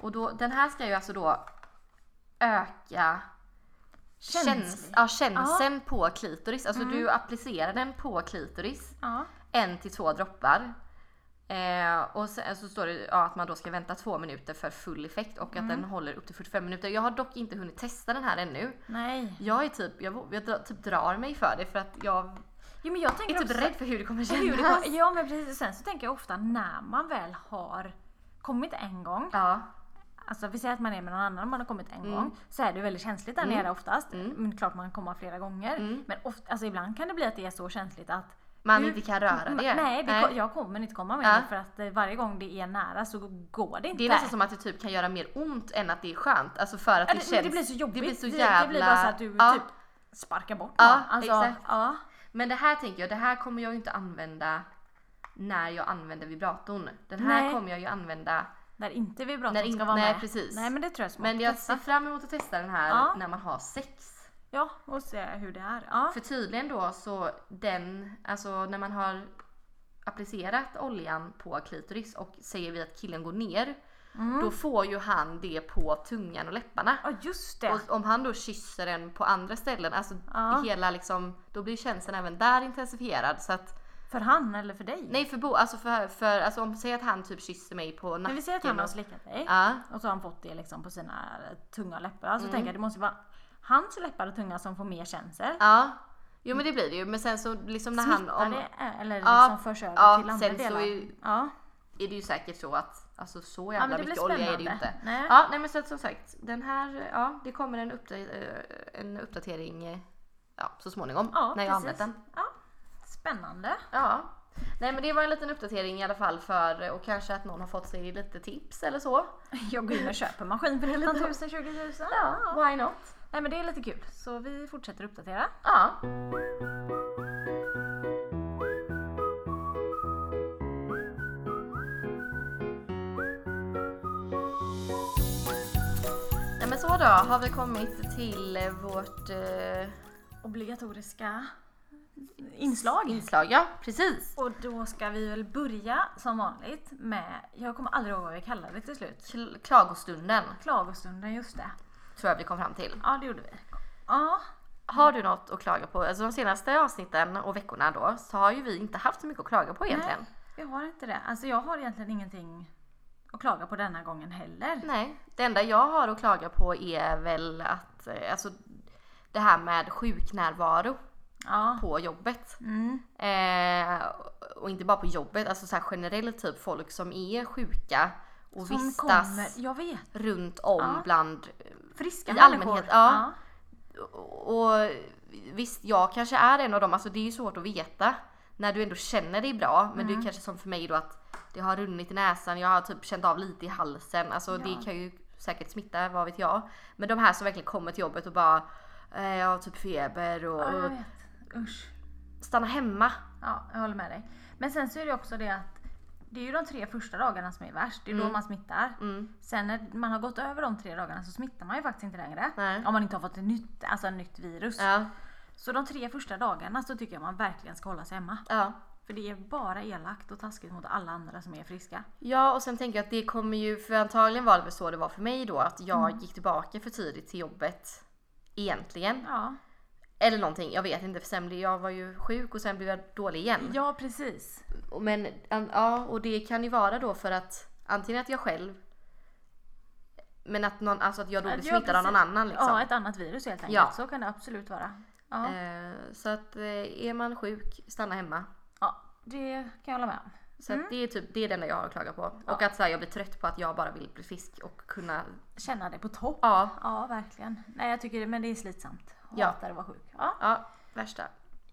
Och då, den här ska ju alltså då öka
Känslig.
käns- ja, känseln på klitoris. Alltså du applicerar den på klitoris.
Ja.
En till två droppar. Eh, och sen så står det ja, att man då ska vänta två minuter för full effekt och att den håller upp till 45 minuter. Jag har dock inte hunnit testa den här ännu.
Nej.
Jag är typ, jag, vå- jag dra, typ drar mig för det för att jag
Jo men jag tänker
jag är
också
typ rädd för hur det kommer kännas.
hur det kommer, Ja men precis. Sen så tänker jag ofta när man väl har kommit en gång
Ja,
Alltså vi säger att man är med någon annan man har kommit
Mm.
en gång så är det väldigt känsligt där nere oftast. Men klart man kan komma flera gånger.
Mm.
Men ofta, alltså, ibland kan det bli att det är så känsligt att
man
Hur-
inte kan röra
Ma-
det.
Mm. Nej, det ko- jag kommer inte komma med
Ja.
det för att eh, varje gång det är nära så går det inte.
Det är nästan som att det typ kan göra mer ont än att det är skönt. Alltså för att
Ja,
det,
det,
känns...
men det blir så jobbigt.
Det blir så
det,
jävla...
blir bara så att du
ja.
typ sparkar bort
Ja,
någon. alltså,
exakt.
Ja,
Men det här tänker jag, det här kommer jag ju inte använda när jag använder vibratorn. Den här
Nej.
kommer jag ju använda.
Där inte
När
vibratorn
inte-
ska vara
nej,
med.
precis.
Nej, men det tror jag är smart.
Men jag ser
Testa.
fram emot att testa den här
Ja.
när man har sex.
Ja, och se hur det är. Ja.
För tydligen då så den, alltså när man har applicerat oljan på klitoris och säger vi att killen går ner.
Mm.
Då får ju han det på tungan och läpparna.
Ja, just det.
Och om han då kysser en på andra ställen, alltså
Ja.
hela liksom, då blir känslan även där intensifierad. Så att,
För han eller för dig?
nej för bo, alltså för, för alltså om, säg att han typ kysser mig på nacken.
men vi säger att han har
och-
slickat dig.
Ja.
Och så har han fått det liksom på sina tunga läppar. Alltså
Mm.
tänker jag, det måste vara hans läppar och tunga som får mer känsel.
Ja. Jo men det blir det ju, men sen så liksom när han,
Smittar
om,
det eh, eller liksom
Ja,
förs över
ja,
till andra
sen så
delar?
är-
ja.
är det ju säkert så att alltså så jävla
men det blir
mycket olja är det ju
spännande.
inte.
Nej.
Ja, nej men så att som sagt, den här, ja det kommer en, uppda- eh, en uppdatering eh, ja, så småningom
ja,
när jag har använt den.
precis. Ja. Spännande.
Ja. Nej men det var en liten uppdatering i alla fall för och kanske att någon har fått sig lite tips eller så.
Jag går in och köper en maskin för 19 000, 20 000.
Ja, why not?
Nej men det är lite kul. Så vi fortsätter uppdatera.
Ja. Nej men så då har vi kommit till eh, vårt eh,
Obligatoriska inslag.
inslag. Ja precis.
Och då ska vi väl börja som vanligt med, jag kommer aldrig ihåg vad vi kallade det till slut.
Kl- klagostunden
Klagostunden, just det.
tror jag vi kom fram till.
Ja, det gjorde vi. Ja,
Har du något att klaga på? Alltså de senaste avsnitten och veckorna då så har ju vi inte haft så mycket att klaga på egentligen.
Nej, jag har inte det. Alltså jag har egentligen ingenting att klaga på denna gången heller.
Nej, det enda jag har att klaga på är väl att eh, alltså, det här med sjuknärvaro
Ja.
på jobbet.
Mm.
Eh, och inte bara på jobbet, alltså så här generellt typ folk som är sjuka och
Som
vistas
kommer, jag vet.
runt om
Ja.
bland...
Friska
I
människor.
allmänhet, ja. Och visst, jag kanske är en av dem, alltså det är ju svårt att veta när du ändå känner dig bra. Men det är kanske som för mig då att det har runnit i näsan, jag har typ känt av lite i halsen. Alltså
Ja.
det kan ju säkert smitta, vad vet jag. Men de här som verkligen kommer till jobbet och bara eh, jag har typ feber och
Ja, jag
och
vet. Usch.
stanna hemma.
Ja, jag håller med dig. Men sen så är det också det att det är ju de tre första dagarna som är värst. Det är då man smittar.
Mm.
Sen när man har gått över de tre dagarna så smittar man ju faktiskt inte längre.
Nej.
Om man inte har fått ett nytt, alltså ett nytt virus.
Ja,
Så de tre första dagarna så tycker jag man verkligen ska hålla sig hemma.
ja.
För det är bara elakt och taskigt mot alla andra som är friska.
Ja och sen tänker jag att det kommer ju, för antagligen var det väl så det var för mig då att jag gick tillbaka för tidigt till jobbet egentligen.
Ja,
Eller någonting, jag vet inte för sen blev jag var ju sjuk och sen blev jag dålig igen.
ja precis.
Och Men an- ja, och det kan ju vara då för att antingen att jag själv men att, någon, alltså att jag då
Ja,
blir
ja,
smittad av någon
precis.
annan liksom.
Ja, ett annat virus helt enkelt.
Ja.
Så kan det absolut vara. Ja.
Eh, Så att eh, är man sjuk, stanna hemma.
ja, det kan jag hålla med om.
Så att det är typ det är det enda jag har att klaga på. Och att så här, jag blir trött på att jag bara vill bli frisk och kunna,
Känna det på topp.
ja,
Ja, verkligen. Nej, jag tycker det, men det är slitsamt.
Ja.
Hatar att vara sjuk. Ja,
ja, värsta.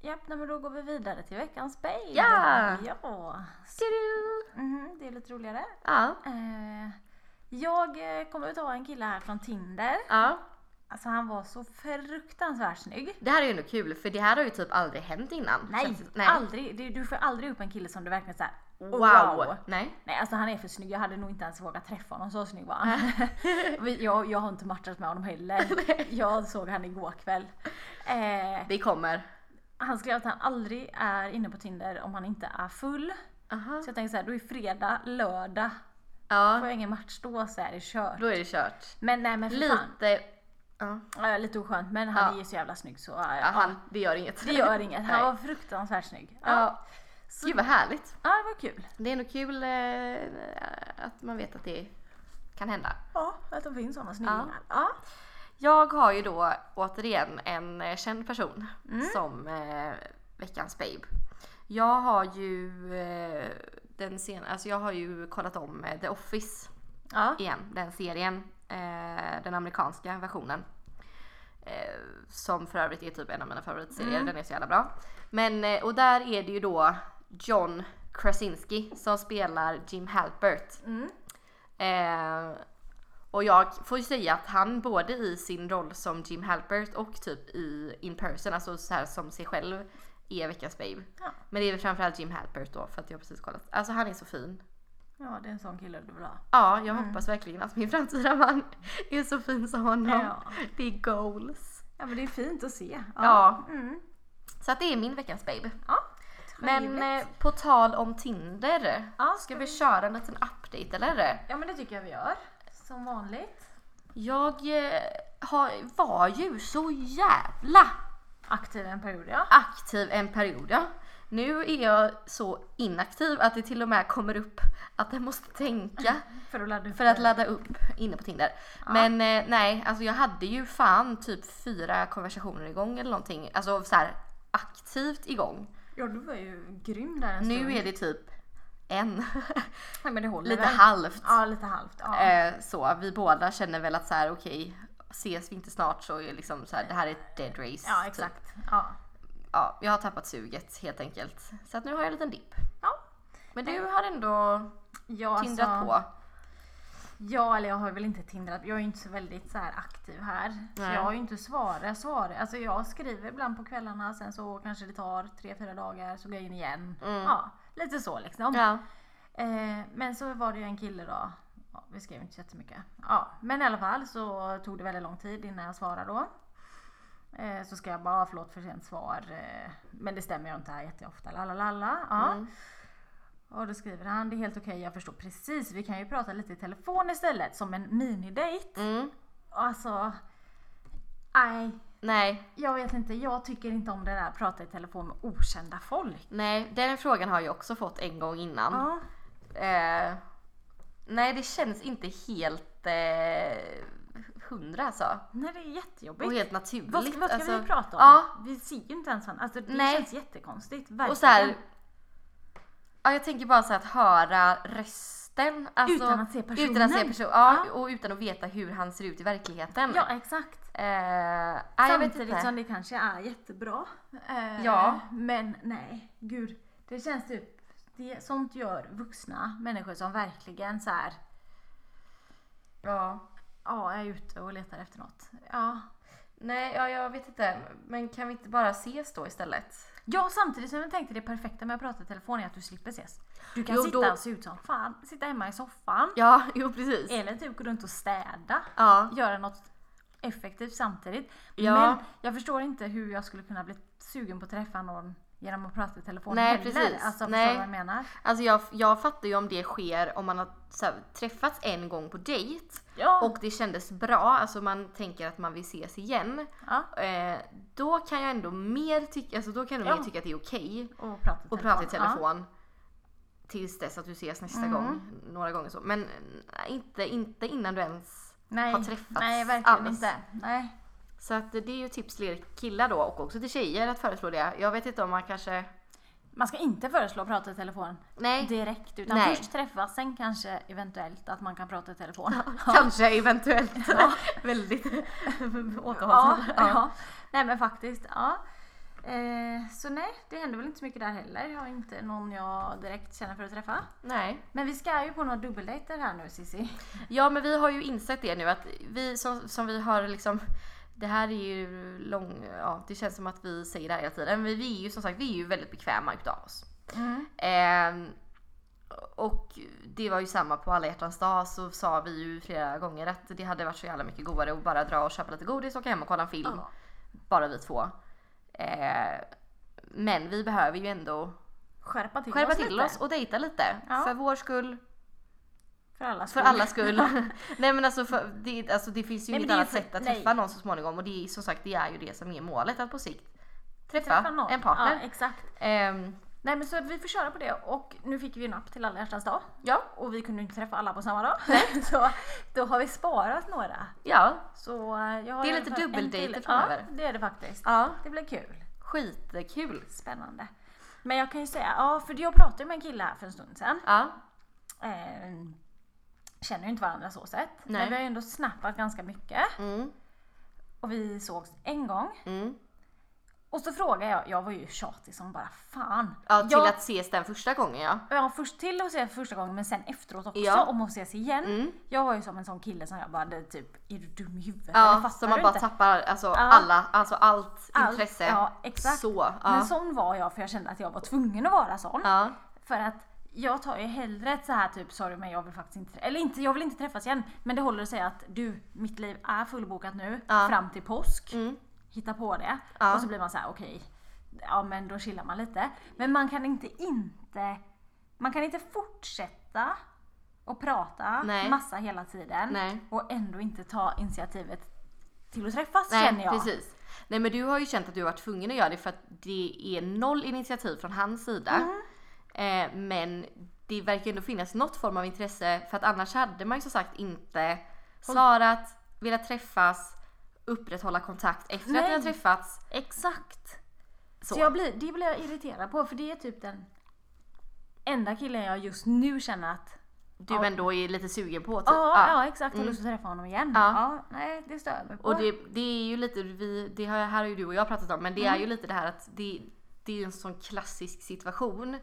japp, nej, men då går vi vidare till veckans spel.
Ja!
Ja!
Tudu!
Mhm, det är lite roligare.
Ja,
Eh, jag eh, kommer att ta en kille här från Tinder.
ja.
Alltså han var så fruktansvärt snygg.
Det här är ju ändå kul för det här har ju typ aldrig hänt innan.
Nej,
Känns det-
aldrig. Du, du får aldrig upp en kille som du verkligen "Oh, såhär
Wow. Nej.
Nej alltså han är för snygg, jag hade nog inte ens vågat träffa honom, så snygg var han. Vi- jag, jag har inte matchat med honom heller. Jag såg han igår kväll. Eh,
Det kommer.
han skrev att han aldrig är inne på Tinder om han inte är full.
Aha.
Så jag tänkte såhär, då är fredag, lördag, får
Ja,
jag ingen match då så är det kört.
då är det kört.
Men nej men för fan.
Lite... Ja,
Ja, lite oskönt men han
Ja.
är ju så jävla snygg så eh,
ja, han, det gör inget.
det gör inget. Han
Nej.
var fruktansvärt snygg. Ja,
Ja. Gud vad härligt.
ja det var kul.
Det är nog kul eh, att man vet att det kan hända.
Ja, att de finns sådana snyggingar. Ja.
Jag har ju då återigen en eh, känd person som eh, veckans babe. Jag har ju eh, den sen, alltså jag har ju kollat om eh, The Office
Ja.
igen, den serien. Eh, den amerikanska versionen. Eh, som för övrigt är typ en av mina favoritserier, den är så jävla bra. Men, eh, och där är det ju då John Krasinski som spelar Jim Halpert. Eh, och jag får ju säga att han både i sin roll som Jim Halpert och typ i in person, alltså så här som sig själv, är veckans babe.
Ja.
Men det är väl framförallt Jim Halpert då för att jag precis kollat. Alltså han är så fin.
ja, det är en sån kille du vill ha.
Ja, jag
Mm.
hoppas verkligen att min framtida man är så fin som honom.
Ja.
Det är goals.
Ja men det är fint att se.
Ja.
Mm.
Så att det är min veckans babe.
ja.
Men eh, på tal om Tinder.
Ja,
Ska vi köra en liten update eller?
ja men det tycker jag vi gör. Som vanligt.
Jag eh, har, var ju så jävla
Aktiv en period ja.
aktiv en period. Ja. Nu är jag så inaktiv att det till och med kommer upp att jag måste tänka
För att ladda upp
för att ladda upp inne på Tinder. Men eh, nej, alltså jag hade ju fan typ fyra konversationer igång eller någonting. Alltså så här aktivt igång.
Ja du var ju grym där en stund.
Nu är det typ en.
Nej, men det håller
Lite
väl.
halvt.
Ja lite halvt. Ja.
Eh, så vi båda känner väl att så här okej, ses vi inte snart så är liksom så här, det här är ett dead race.
Ja
typ.
exakt. Ja.
ja, jag har tappat suget helt enkelt. Så att nu har jag en liten dipp.
Ja.
Men du har ändå
Jag,
tindrat
alltså,
på.
Ja, eller jag har väl inte tindrat. Jag är ju inte så väldigt så här aktiv här. Så
Nej.
jag har ju inte svarat. Jag, svarar. Alltså, jag skriver ibland på kvällarna, sen så kanske det tar tre, fyra dagar så går jag in igen.
Mm.
Ja, lite så liksom.
Ja.
Eh, men så var det ju en kille då. Ja, vi skrev inte så jättemycket. Ja, men i alla fall så tog det väldigt lång tid innan jag svarade då. Eh, så ska jag bara, förlåt för sent svar. Eh, men det stämmer ju inte här jätteofta. Lalalala. Ja.
Mm.
Och då skriver han, det är helt okej, jag förstår precis. Vi kan ju prata lite i telefon istället som en minidejt.
Mm.
Alltså, nej.
Nej,
Jag vet inte, jag tycker inte om det där prata i telefon med okända folk.
nej, den frågan har jag också fått en gång innan.
Ja.
Eh, nej, det känns inte helt eh, hundra alltså.
Nej, det är jättejobbigt.
Och helt naturligt.
Vad ska, vad ska
alltså.
vi prata om?
Ja,
Vi ser ju inte ens varandra. Alltså, det
Nej.
känns jättekonstigt. Verkligen.
och så här, ja, jag tänker bara så här att höra rösten. Alltså,
Utan att se
Utan att se
personen.
person, ja,
Ja.
Och utan att veta hur han ser ut i verkligheten.
Ja, exakt.
Eh, nej, jag vet
Samtidigt
inte.
som det kanske är jättebra. Eh,
Ja.
Men nej, gud. Det känns typ, det, sånt gör vuxna människor som verkligen så här,
Ja.
ja, är ute och letar efter något. Ja.
Nej, ja, jag vet inte. Men kan vi inte bara ses då istället?
Ja, samtidigt som jag tänkte det perfekta med att prata i telefon är att du slipper ses. Du kan
Jo,
sitta
då-
och se ut som fan, sitta hemma i soffan.
Ja, jo precis.
Eller typ gå runt och städa.
Ja.
göra något effektivt samtidigt.
Ja.
Men jag förstår inte hur jag skulle kunna bli sugen på att träffa någon genom att prata i telefon
Nej,
heller.
precis.
Alltså förstår
Nej.
du vad jag menar?
Alltså jag, jag fattar ju om det sker om man har så här, träffats en gång på dejt
Ja.
och det kändes bra, alltså man tänker att man vill ses igen.
ja.
Eh, då kan jag ändå mer tycka, alltså då kan jag
Ja.
mer tycka att det är okej
Och prata i
att prata i telefon. Tills dess att du ses nästa gång, några gånger så. Men eh, inte, inte innan du ens...
Ja. Nej.
Har träffats
Nej, verkligen
alls.
inte. Nej.
Så att det är ju tips till er killar då och också till tjejer att föreslå det. Jag vet inte om man kanske...
Man ska inte föreslå att prata i telefon
Nej,
direkt utan
Nej.
först träffas, sen kanske eventuellt att man kan prata i telefon.
kanske eventuellt. Väldigt
Ja,
återhållsam.
ja. Nej men faktiskt, ja. Eh, så nej, det händer väl inte så mycket där heller. Jag har inte någon jag direkt känner för att träffa.
Nej.
Men vi ska ju på några dubbeldejter här nu Cissi.
Ja men vi har ju insett det nu att vi som, som vi har liksom det här är ju lång, ja det känns som att vi säger det här hela tiden men vi är ju som sagt vi är ju väldigt bekväma utav oss. Ehm, och det var ju samma på alla hjärtans dag så sa vi ju flera gånger att det hade varit så jävla mycket godare att bara dra och köpa lite godis och åka hem och kolla en film.
Ja.
Bara vi två. Ehm, men vi behöver ju ändå
Skärpa till
skärpa
oss
till
lite.
oss och dejta lite.
Ja.
För vår skull,
För alla
för alla skull. nej men alltså, för, det, alltså det finns ju
Nej, men
inget
det är
annat
för-
sätt att
nej.
träffa någon så småningom och det är som sagt det är ju det som är målet att på sikt träffa,
Träffa någon.
en partner.
Ja, exakt.
Ehm,
Nej men så vi får köra på det och nu fick vi ju en app till alla hjärtans dag.
ja,
Och vi kunde ju inte träffa alla på samma dag. så då har vi sparat några.
ja,
Så eh, jag har
Det är
i
lite
alla fall en
dubbeldejter
till.
framöver.
Ja, det är det faktiskt.
ja,
Det blir kul.
skitkul.
Spännande. Men jag kan ju säga, ja för jag pratade ju med en kille här för en stund sedan.
Ja,
Eh, känner ju inte varandra så sett.
Nej.
Men vi har ju ändå snappat ganska mycket.
mm,
Och vi sågs en gång.
mm.
Och så frågade jag, jag var ju tjatig som bara fan.
ja till
jag,
att ses den första gången ja.
ja, först till att ses första gången men sen efteråt också
Ja.
om att ses igen.
Mm.
Jag var ju som en sån kille som jag bara, det är typ, är du dum i huvudet? Eller
Ja,
fattar
så man
du
bara
inte?
tappar alltså, alla, alltså allt,
Allt,
intresse.
ja, exakt.
Så,
Men
ja.
sån var jag för jag kände att jag var tvungen att vara sån.
ja.
För att jag tar ju hellre ett så här typ, sorry men jag vill faktiskt inte, eller inte, jag vill inte träffas igen. Men det håller sig att du, mitt liv är fullbokat nu
Ja.
fram till påsk.
Mm.
Hitta på det.
Ja.
Och så blir man så här: okej, ja men då chillar man lite. Men man kan inte inte, man kan inte fortsätta och prata
Nej.
massa hela tiden
Nej.
och ändå inte ta initiativet till att träffas känner
Nej,
jag.
precis. Nej men du har ju känt att du har varit tvungen att göra det för att det är noll initiativ från hans sida.
Mm.
Eh, men det verkar ju ändå finnas något form av intresse för att annars hade man ju som sagt inte svarat, velat träffas, upprätthålla kontakt efter att ni har
Nej.
träffats.
Exakt.
Så.
Så, jag blir, det blir jag irriterad på för det är typ den enda killen jag just nu känner att
du
Ja.
ändå är lite sugen på. Typ.
Ja,
Ja. Mm.
ja. exakt. Har lust att träffa honom igen.
Ja.
Ja. nej, det stör jag mig på.
Och det, det är ju lite, vi, det har, här har ju du och jag pratat om, men det
Mm.
är ju lite det här att det, det är ju en sån klassisk situation.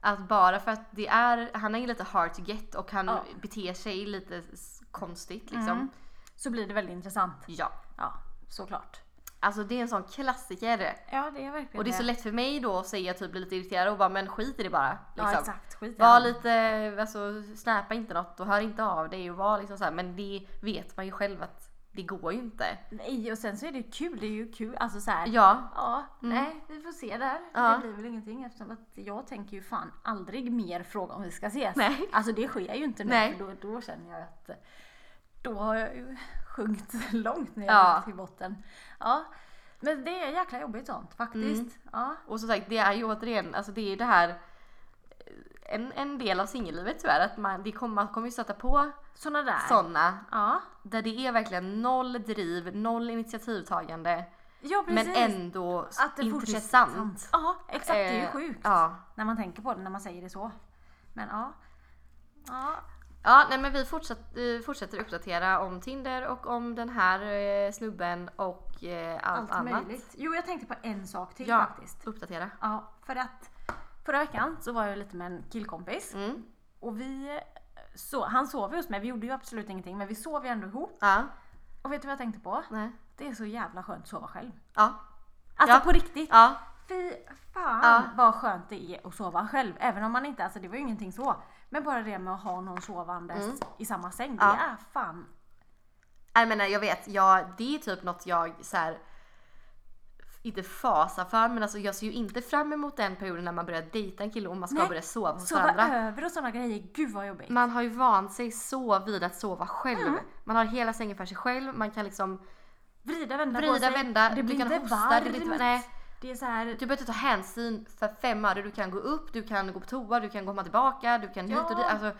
Att bara för att det är, han är ju lite hard to get och han
Ja.
beter sig lite s- konstigt liksom.
Mm. Så blir det väldigt intressant.
Ja.
Ja, såklart.
Alltså det är en sån klassiker.
Ja, det är verkligen
Och det är så lätt för mig då att säga typ bli lite irriterad och bara men skit i det bara. Liksom.
Ja, exakt. Skit i
Var
honom.
lite, alltså snäpa inte något och hör inte av dig och var liksom så här, men det vet man ju själv att det går ju inte.
Nej, och sen så är det ju kul. Det är ju kul. Alltså så här.
Ja,
Ja, nej, vi får se där.
Mm. Ja.
Det blir väl ingenting eftersom att jag tänker ju fan aldrig mer fråga om vi ska ses.
Nej.
Alltså det sker ju inte nu
Nej.
för då, då känner jag att eh, då har jag ju sjunkit långt ner
Ja.
till botten. Ja, men det är jäkla jobbigt sånt faktiskt.
Mm.
Ja.
Och som sagt, det är ju återigen, alltså det är ju det här eh, en, en del av singellivet tyvärr, att man, det kommer, man kommer ju stöta på
Såna där.
sådana
Ja.
där det är verkligen noll driv, noll initiativtagande
ja, precis.
men ändå
Att det fortfarande är
intressant.
Ja, exakt. Det är ju
Eh,
sjukt
Ja.
när man tänker på det, när man säger det så. Men ja. Ja,
ja, nej men vi fortsatt, eh, fortsätter uppdatera om Tinder och om den här eh, snubben och eh, allt,
allt
annat.
möjligt. Jo, jag tänkte på en sak till
Ja,
faktiskt.
uppdatera.
Ja, för att förra veckan så var jag lite med en killkompis
Mm.
och vi så, han sov ju hos mig, vi gjorde ju absolut ingenting men vi sov ju ändå ihop.
Ja,
Och vet du vad jag tänkte på?
nej.
Det är så jävla skönt att sova själv.
Ja,
Alltså
Ja.
på riktigt!
ja,
Fy fan
Ja.
vad skönt det är att sova själv. Även om man inte, alltså det var ju ingenting så. Men bara det med att ha någon sovandes i samma säng,
Mm. Ja.
det är fan.
Jag menar jag vet, jag, det är typ något jag så här, inte fasar för men alltså jag ser ju inte fram emot den perioden när man börjar dejta en kille och man ska
Nej,
börja sova hos
Sova
varandra.
över och sådana grejer, gud vad jobbigt.
Man har ju vant sig så vid att sova själv.
Mm.
Man har hela sängen för sig själv, man kan liksom
Vrida, vända på
vrida,
sig.
vända,
det blir
du kan
inte
hosta,
varmt.
det blir inte, nej.
Det är så här,
Du behöver inte ta hänsyn för fem öre. Du kan gå upp, du kan gå på toa, du kan komma tillbaka, du kan hit och
Ja.
dit. Alltså,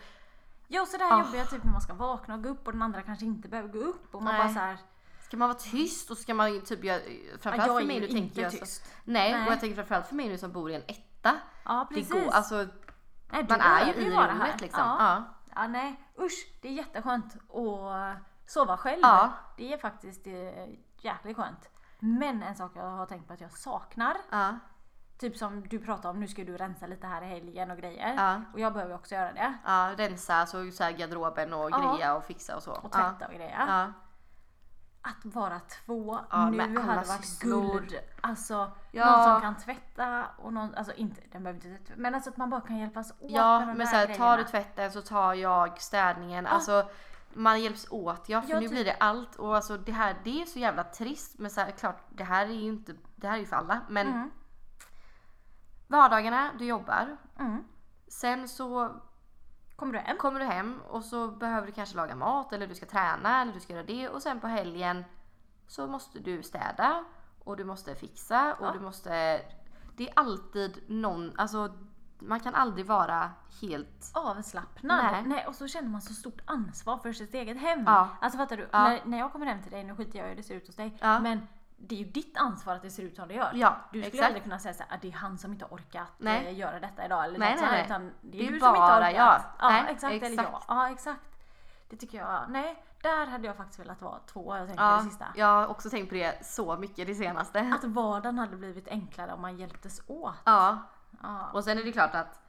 Ja, så där
Ah.
jobbar jag typ när man ska vakna och gå upp och den andra kanske inte behöver gå upp. Och man
Nej.
bara så här,
ska man vara tyst och ska man ju typ göra, framförallt
jag
för
är
mig
ju
nu tänker
inte
jag så-
tyst.
Nej,
Nej.
och jag tänker framförallt för mig nu som bor i en etta.
Ja,
Det
precis.
går, alltså
nej, du
Man är ju
behöver
i
vara
rummet liksom.
Ja.
Ja.
ja, nej. Usch, det är jätteskönt att sova själv.
Ja.
Det är faktiskt eh, jäkligt skönt. Men en sak jag har tänkt på att jag saknar,
Ja.
typ som du pratade om, nu ska du rensa lite här i helgen och grejer.
Ja.
Och jag behöver ju också göra det.
ja. Rensa så, så här garderoben och
Ja.
greja och fixa och så.
Och
ja.
tvätta och grejer.
Ja.
Att vara två
Ja,
nu
med alla
hade varit
sysslor.
guld. Alltså
Ja.
någon som kan tvätta och någon, alltså inte, den behöver inte tvätta, men alltså att man bara kan hjälpas åt
ja,
med de
men
här
så här, tar du
grejerna.
tvätten så tar jag städningen. Alltså man hjälps åt ja, för
Ja,
nu
typ.
blir det allt och alltså det här det är så jävla trist men så här, klart det här är ju inte, det här är ju för alla men
Mm.
vardagarna du jobbar
Mm.
sen så
Kommer du hem?
kommer du hem och så behöver du kanske laga mat eller du ska träna eller du ska göra det och sen på helgen så måste du städa och du måste fixa och
Ja.
du måste... Det är alltid någon, alltså man kan aldrig vara helt...
Avslappnad.
Nej.
Nej. och så känner man så stort ansvar för sitt eget hem.
Ja.
Alltså fattar du?
Ja.
När, när jag kommer hem till dig, nu skiter jag i hur det ser ut hos dig,
Ja.
men det är ju ditt ansvar att det ser ut som det gör.
Ja,
du skulle
exakt.
aldrig kunna säga såhär att det är han som inte har orkat
Nej.
eh, göra detta idag eller
Nej,
något
nej,
sånt,
nej.
utan det är,
Det är
du som inte har
bara
orkat.
jag.
Ja,
Nej,
exakt, Eller
exakt.
jag. Ja, exakt. Det tycker jag, nej, där hade jag faktiskt velat vara två, jag tänkte
Ja,
det sista.
jag har också tänkt på det så mycket det senaste.
Att vardagen hade blivit enklare om man hjälptes åt.
Ja,
Ja.
och sen är det klart att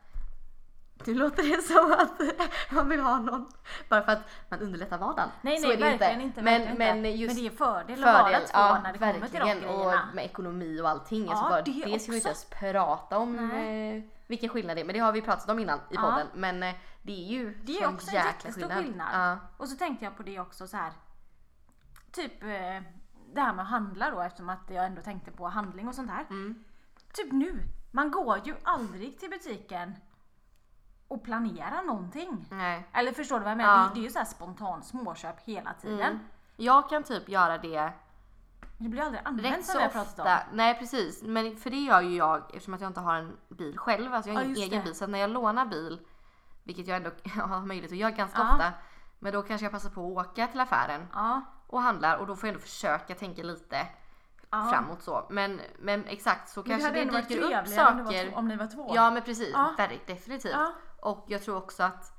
det låter det som att man vill ha någon bara för att man underlättar vardagen.
Nej,
så
nej,
är det
verkligen inte.
men,
verkligen
men
inte.
just
men det är fördel att vara
fördel,
två
ja,
när det kommer till de
verkligen. Och
grejerna.
med ekonomi och allting.
Ja,
alltså bara,
det
det ska vi inte
också.
ens prata om
Nej.
eh, vilken skillnad det är. Men det har vi pratat om innan i
Ja.
podden. Men eh, det är ju
Det är
sån
också en
jäkla
jättestor skillnad.
Ja.
Och så tänkte jag på det också så här. Typ eh, det här med att handla då eftersom att jag ändå tänkte på handling och sånt här.
Mm.
Typ nu, man går ju aldrig till butiken och planerar någonting.
Nej.
Eller förstår du vad jag menar?
Ja.
Det, det är ju så här spontan småköp hela tiden.
Mm. Jag kan typ göra det
Men det blir aldrig använt
rätt
som
så
vi har pratat om.
ofta. Nej precis, men för det gör ju jag eftersom att jag inte har en bil själv. Alltså jag har
Ja,
ingen
just
egen
det.
bil. Så att när jag lånar bil, vilket jag ändå har möjlighet att göra ganska
Ja.
ofta. Men då kanske jag passar på att åka till affären
Ja,
och handlar och då får jag ändå försöka tänka lite
ja.
framåt så. Men, men exakt så
Men
kanske
hade
det
ändå varit
dyker upp
trevligare om det var
saker.
två- Om ni var två.
Ja men precis,
Ja.
väldigt definitivt.
Ja.
Och jag tror också att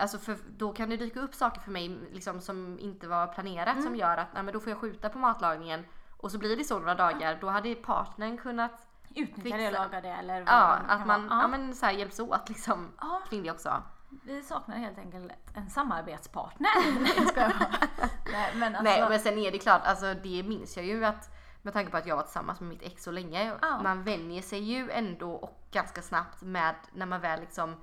Alltså för då kan det dyka upp saker för mig liksom, som inte var planerat som
Mm.
gör att nej, men då får jag skjuta på matlagningen och så blir det så några dagar. Då hade partnern kunnat
Utnyttja
Fixa.
det och laga det eller vad
Ja,
det nu
att
kan
man
vara.
ja.
Ja.
men, så här, hjälps åt liksom,
Ja.
kring det också.
Vi saknar helt enkelt en samarbetspartner. Nej, ska jag bara. Nej, men alltså,
Nej men sen är det klart, alltså, det minns jag ju att med tanke på att jag var tillsammans med mitt ex så länge.
Ja.
Man vänjer sig ju ändå och ganska snabbt med när man väl liksom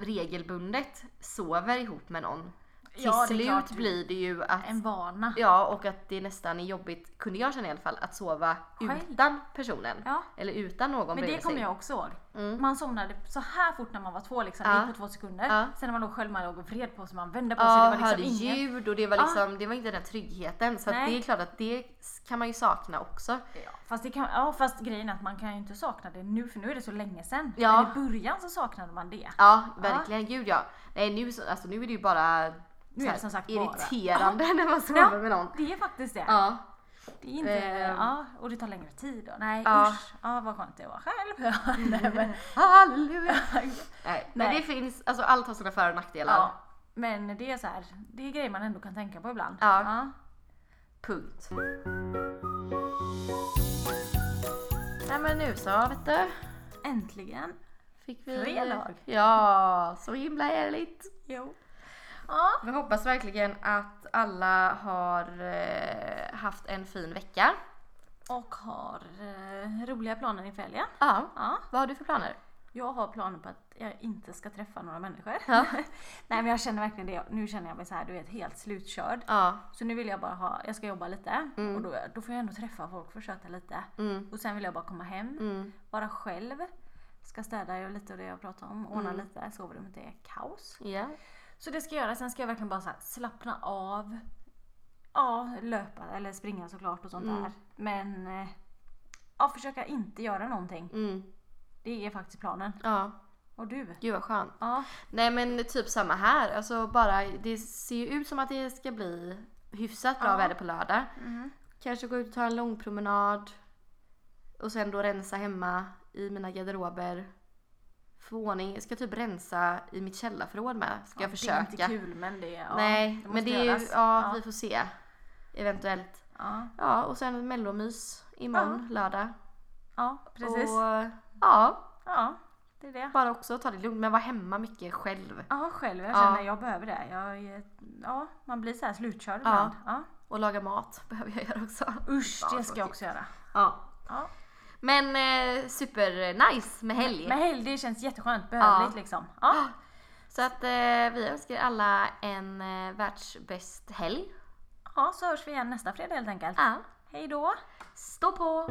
re- regelbundet sover ihop med någon. Till
Ja, det är
slut
klart.
blir det ju att
en vana.
Ja och att det nästan är jobbigt, kunde jag känna i alla fall, att sova
Själv.
utan personen.
Ja.
Eller utan någon
Men det
bredvid
kommer
sig.
jag också ihåg.
Mm.
Man somnade så här fort när man var två liksom.
Ja.
Det gick på två sekunder.
Ja.
Sen när man låg själv man låg och vred på sig, man vände på sig.
Ja,
det var
hörde
liksom inget.
ljud och det var,
Ja.
liksom, det var inte den tryggheten. Så att
Nej.
det är klart att det kan man ju sakna också.
Ja, fast, det kan, ja, fast grejen är att man kan ju inte sakna det nu för nu är det så länge sedan.
Ja.
Men i början så saknade man det.
Ja, verkligen. Gud ja. Nej, nu, så- alltså, nu är det ju bara
Nu är
så
det som sagt bara.
irriterande när man sover med någon.
Det är faktiskt det.
Ja.
Det är inte,
Ehm.
ja, och det tar längre tid. Då. Nej
Ja.
usch, ja, vad skönt det var själv. Nej, men,
Halleluja. Nej, men
Nej.
det finns, alltså allt har sina för och nackdelar.
ja. men det är så här, det är grejer man ändå kan tänka på ibland.
Ja.
Ja.
Punkt. Nej men nu så vet du.
Äntligen.
Fick vi...
Fredag.
Ja, så himla härligt.
Jo. Ja.
Vi hoppas verkligen att alla har eh, haft en fin vecka.
Och har eh, roliga planer inför helgen.
Ja.
Ja.
Vad har du för planer?
Jag har planer på att jag inte ska träffa några människor.
Ja.
Nej men jag känner verkligen det. Nu känner jag mig så här, du vet helt slutkörd.
Ja.
Så nu vill jag bara ha, jag ska jobba lite och då, då får jag ändå träffa folk och köta lite.
Mm.
Och sen vill jag bara komma hem,
Mm.
vara själv. Ska städa jag lite och det jag pratar om, ordna
Mm.
lite, sovrummet är kaos.
Ja.
Så det ska jag göra, sen ska jag verkligen bara så här, slappna av. Ja, löpa eller springa såklart och sånt
Mm.
där. Men eh, ja, försöka inte göra någonting.
Mm.
Det är faktiskt planen.
Ja.
Och du?
Gud vad skönt.
Ja,
Nej men typ samma här. Alltså bara, det ser ju ut som att det ska bli hyfsat bra
Ja. Mm.
väder på lördag. Kanske gå ut och ta en lång promenad. Och sen då rensa hemma i mina garderober. Få ordning. Jag ska typ rensa i mitt källarförråd med. Ska jag försöka.
Det är inte kul men det är... Ja,
Nej
det måste
men det är ju,
göras.
ja,
ja.
vi får se. Eventuellt.
Ja.
Ja och sen mellomys imorgon lördag.
ja, precis.
Och, ja,
Ja, det är det.
bara också ta det lugnt men vara hemma mycket själv.
Ja, själv. Jag
Ja.
känner jag behöver det. Jag, är- ja, man blir så här slutkörd ibland. Ja.
Och laga mat behöver jag göra också.
Usch,
Ja, typ.
det ska jag också göra.
Ja.
Ja.
Men eh, super nice med helg.
Men helg, det känns jätteskönt. Behövligt liksom. Ja.
Så att eh, vi önskar alla en eh, världsbäst helg.
ja, så hörs vi igen nästa fredag helt enkelt.
Ja.
Hej då!
Stå på!